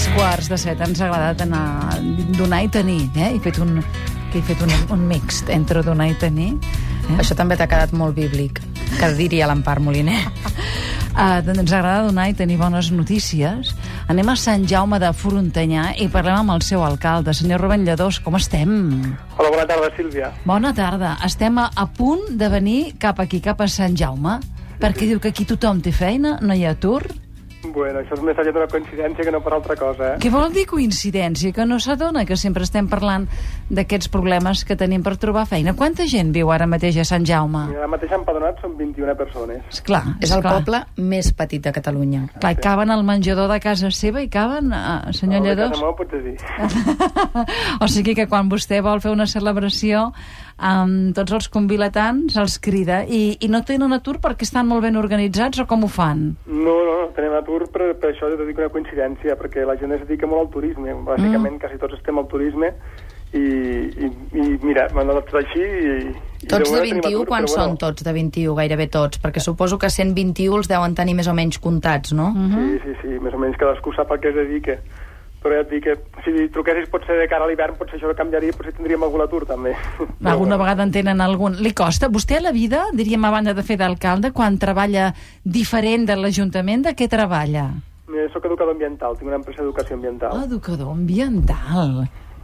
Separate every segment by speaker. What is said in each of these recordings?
Speaker 1: Basseta, ens ha agradat anar donar i tenir, eh? He fet un, que he fet un, un mixt entre donar i tenir. Eh?
Speaker 2: Això també t'ha quedat molt bíblic, que diria l'Empar Moliner.
Speaker 1: Uh, doncs ens agrada donar i tenir bones notícies. Anem a Sant Jaume de Forontanyà i parlem amb el seu alcalde, senyor Rubén Lledós. Com estem?
Speaker 3: Hola, bona tarda, Sílvia.
Speaker 1: Bona tarda. Estem a, a punt de venir cap aquí, cap a Sant Jaume, perquè diu que aquí tothom té feina, no hi ha atur.
Speaker 3: Bueno, això és més allà d'una coincidència que no per altra cosa, eh?
Speaker 1: Què vol dir coincidència? Que no s'adona que sempre estem parlant d'aquests problemes que tenim per trobar feina. Quanta gent viu ara mateix a Sant Jaume?
Speaker 3: Mira, Ara mateix empadronats són 21 persones.
Speaker 1: Esclar,
Speaker 2: És el
Speaker 1: esclar.
Speaker 2: poble més petit de Catalunya.
Speaker 1: Clar, i caben al menjador de casa seva i caben, eh, senyor
Speaker 3: Home,
Speaker 1: Lledós. Ah.
Speaker 3: Casa meva, potser sí.
Speaker 1: o sigui que quan vostè vol fer una celebració amb tots els convilatants els crida i, i no tenen atur perquè estan molt ben organitzats o com ho fan?
Speaker 3: No, no, no, tenim atur, però per això t'ho dic una coincidència, perquè la gent es dedica molt al turisme, bàsicament mm. quasi tots estem al turisme, i, i, i mira, m'han anat així... I, i
Speaker 2: Tots de
Speaker 3: moment no tenim
Speaker 2: 21,
Speaker 3: atur,
Speaker 2: quan
Speaker 3: però
Speaker 2: són tots de 21? Gairebé tots, perquè suposo que 121 els deuen tenir més o menys comptats, no? Mm.
Speaker 3: Sí, sí, sí, més o menys cadascú sap a què es dedica. Però ja et dic que si truquessis potser de cara a l'hivern potser això canviaria, potser tindríem algun atur també.
Speaker 1: Alguna vegada en tenen algun. Li costa? Vostè a la vida, diríem a banda de fer d'alcalde, quan treballa diferent de l'Ajuntament, de què treballa? Oh,
Speaker 3: Mira, soc educador ambiental, tinc una empresa d'educació
Speaker 1: Ah.
Speaker 3: ambiental.
Speaker 1: Educador ambiental.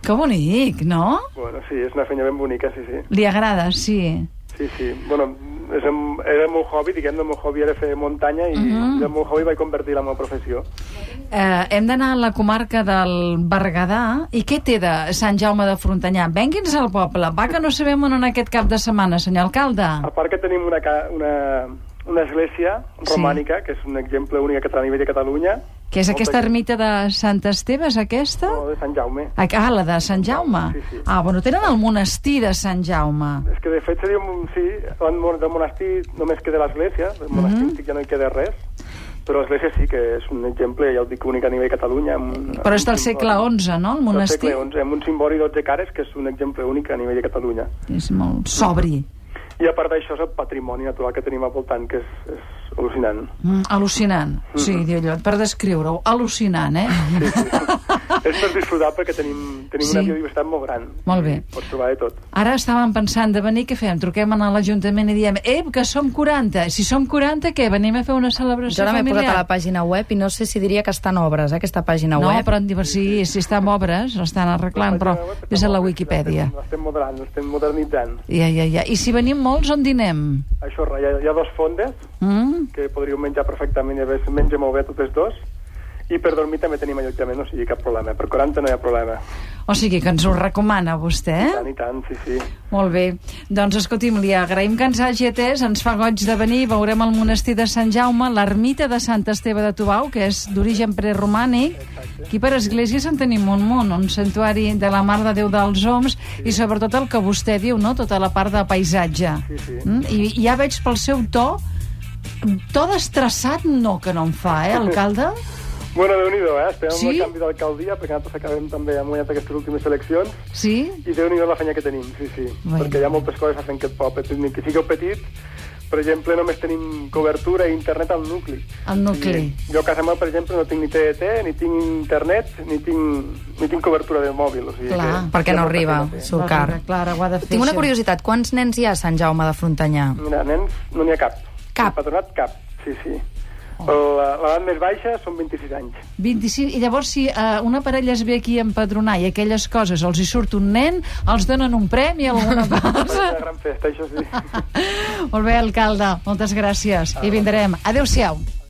Speaker 1: Que bonic, no?
Speaker 3: Bueno, sí, és una feina ben bonica, sí, sí.
Speaker 1: Li agrada, sí.
Speaker 3: Sí, sí. Bueno, és el, era el meu hobby, diguem, el meu hobby era fer muntanya i uh
Speaker 1: Mhm.
Speaker 3: -huh. el meu hobby vaig convertir en la meva professió.
Speaker 1: Eh, hem d'anar a la comarca del Berguedà. I què té de Sant Jaume de Frontanyà? Vengui'ns al poble. Va, que no sabem on anar aquest cap de setmana, senyor alcalde.
Speaker 3: A part que tenim una, ca- una, una església
Speaker 1: Sí.
Speaker 3: romànica, que és un exemple únic que té a nivell de Catalunya,
Speaker 1: Que és
Speaker 3: molta
Speaker 1: aquesta
Speaker 3: gent.
Speaker 1: ermita de Sant Esteve, és aquesta?
Speaker 3: o de Sant Jaume.
Speaker 1: Ah, Ah, la de Sant Jaume.
Speaker 3: Sí, sí.
Speaker 1: Ah, bueno, tenen el monestir de Sant Jaume.
Speaker 3: És que, de fet, seria un, sí, el mon- del monestir només queda l'església, del
Speaker 1: Mhm.
Speaker 3: monestir antic ja no hi queda res, però l'església sí que és un exemple, ja ho dic, únic a nivell de Catalunya. Amb, un- amb
Speaker 1: Però és
Speaker 3: un
Speaker 1: del segle
Speaker 3: cimbori.
Speaker 1: XI, no?, el monestir.
Speaker 3: Del segle XI, eh, amb un cimbori 12 cares, que és un exemple únic a nivell de Catalunya.
Speaker 1: És molt sobri.
Speaker 3: I a part d'això és el patrimoni natural que tenim al voltant, que és, és al·lucinant.
Speaker 1: Mm, al·lucinant. Sí,
Speaker 3: Mm-hmm.
Speaker 1: diu allò, per descriure-ho. Al·lucinant, eh?
Speaker 3: Sí, sí. és per disfrutar perquè tenim, tenim sí. una
Speaker 1: Sí.
Speaker 3: biodiversitat molt gran.
Speaker 1: Molt bé.
Speaker 3: Pots trobar de tot.
Speaker 1: Ara estàvem pensant de venir, què fem? Truquem a l'Ajuntament i diem, ep, que som 40. Si som 40, què? Venim a fer una
Speaker 2: Jo
Speaker 1: celebració
Speaker 2: ara m'he
Speaker 1: familiar?
Speaker 2: posat a la pàgina web i no sé si diria que estan obres, eh, aquesta pàgina
Speaker 1: No,
Speaker 2: web.
Speaker 1: però en diversitat, sí, si està en obres, l'estan arreglant, però des de la Wikipedia.
Speaker 3: L'estem moderant, l'estem modernitzant.
Speaker 1: Ja, ja, ja. I si venim molts, on dinem?
Speaker 3: Això, hi ha, hi ha dos fondes
Speaker 1: Mm?
Speaker 3: que podríeu menjar perfectament i a més menja molt bé totes dos. I per dormir també tenim allotjament, no sigui cap problema. Per 40 no hi ha problema.
Speaker 1: O sigui que ens ho recomana vostè,
Speaker 3: Eh?
Speaker 1: eh?
Speaker 3: Tant i tant, sí, sí.
Speaker 1: Molt bé. Doncs escolti'm, li agraïm que ens hagi atès, ens fa goig de venir, veurem el monestir de Sant Jaume, l'ermita de Sant Esteve de Tubau, que és d'origen preromànic. Aquí per esglésies en tenim un munt, un santuari de la Mare de Déu dels Homs i sobretot el que vostè diu, no?, tota la part de paisatge.
Speaker 3: Sí, sí.
Speaker 1: Mm? I i ja veig pel seu to, to d'estressat no, que no en fa, eh, alcalde?
Speaker 3: Bueno, déu nhi eh? Estem amb
Speaker 1: Sí?
Speaker 3: el canvi d'alcaldia, perquè nosaltres acabem també amb guanyat aquestes últimes eleccions.
Speaker 1: Sí?
Speaker 3: I déu nhi la feina que tenim, sí, sí.
Speaker 1: Bueno.
Speaker 3: Bueno. Perquè hi ha moltes coses a fer en aquest poble. Tot i que sigueu petit, per exemple, només tenim cobertura i internet al nucli.
Speaker 1: Al nucli.
Speaker 3: I jo a casa meva, per exemple, no tinc ni TDT, ni tinc internet, ni tinc, ni tinc cobertura de mòbil. O sigui
Speaker 1: Clar,
Speaker 3: que,
Speaker 2: perquè
Speaker 3: hi ha
Speaker 2: no
Speaker 3: molta
Speaker 2: arriba,
Speaker 3: feina a fer.
Speaker 2: surt car.
Speaker 1: Clara, ho ha de fer.
Speaker 2: Tinc una
Speaker 1: sempre.
Speaker 2: curiositat, quants nens hi ha a Sant Jaume de Frontanyà?
Speaker 3: Mira, nens, no n'hi ha cap.
Speaker 2: Cap.
Speaker 3: Patronat, cap, sí, sí. Oh. L'edat més baixa són 26 anys.
Speaker 1: 25, i llavors si uh, una parella es ve aquí a empadronar i aquelles coses els hi surt un nen, els donen un premi o alguna
Speaker 3: És una
Speaker 1: cosa.
Speaker 3: gran festa, això sí.
Speaker 1: Molt bé, alcalde, moltes gràcies. I vindrem. Adéu-siau.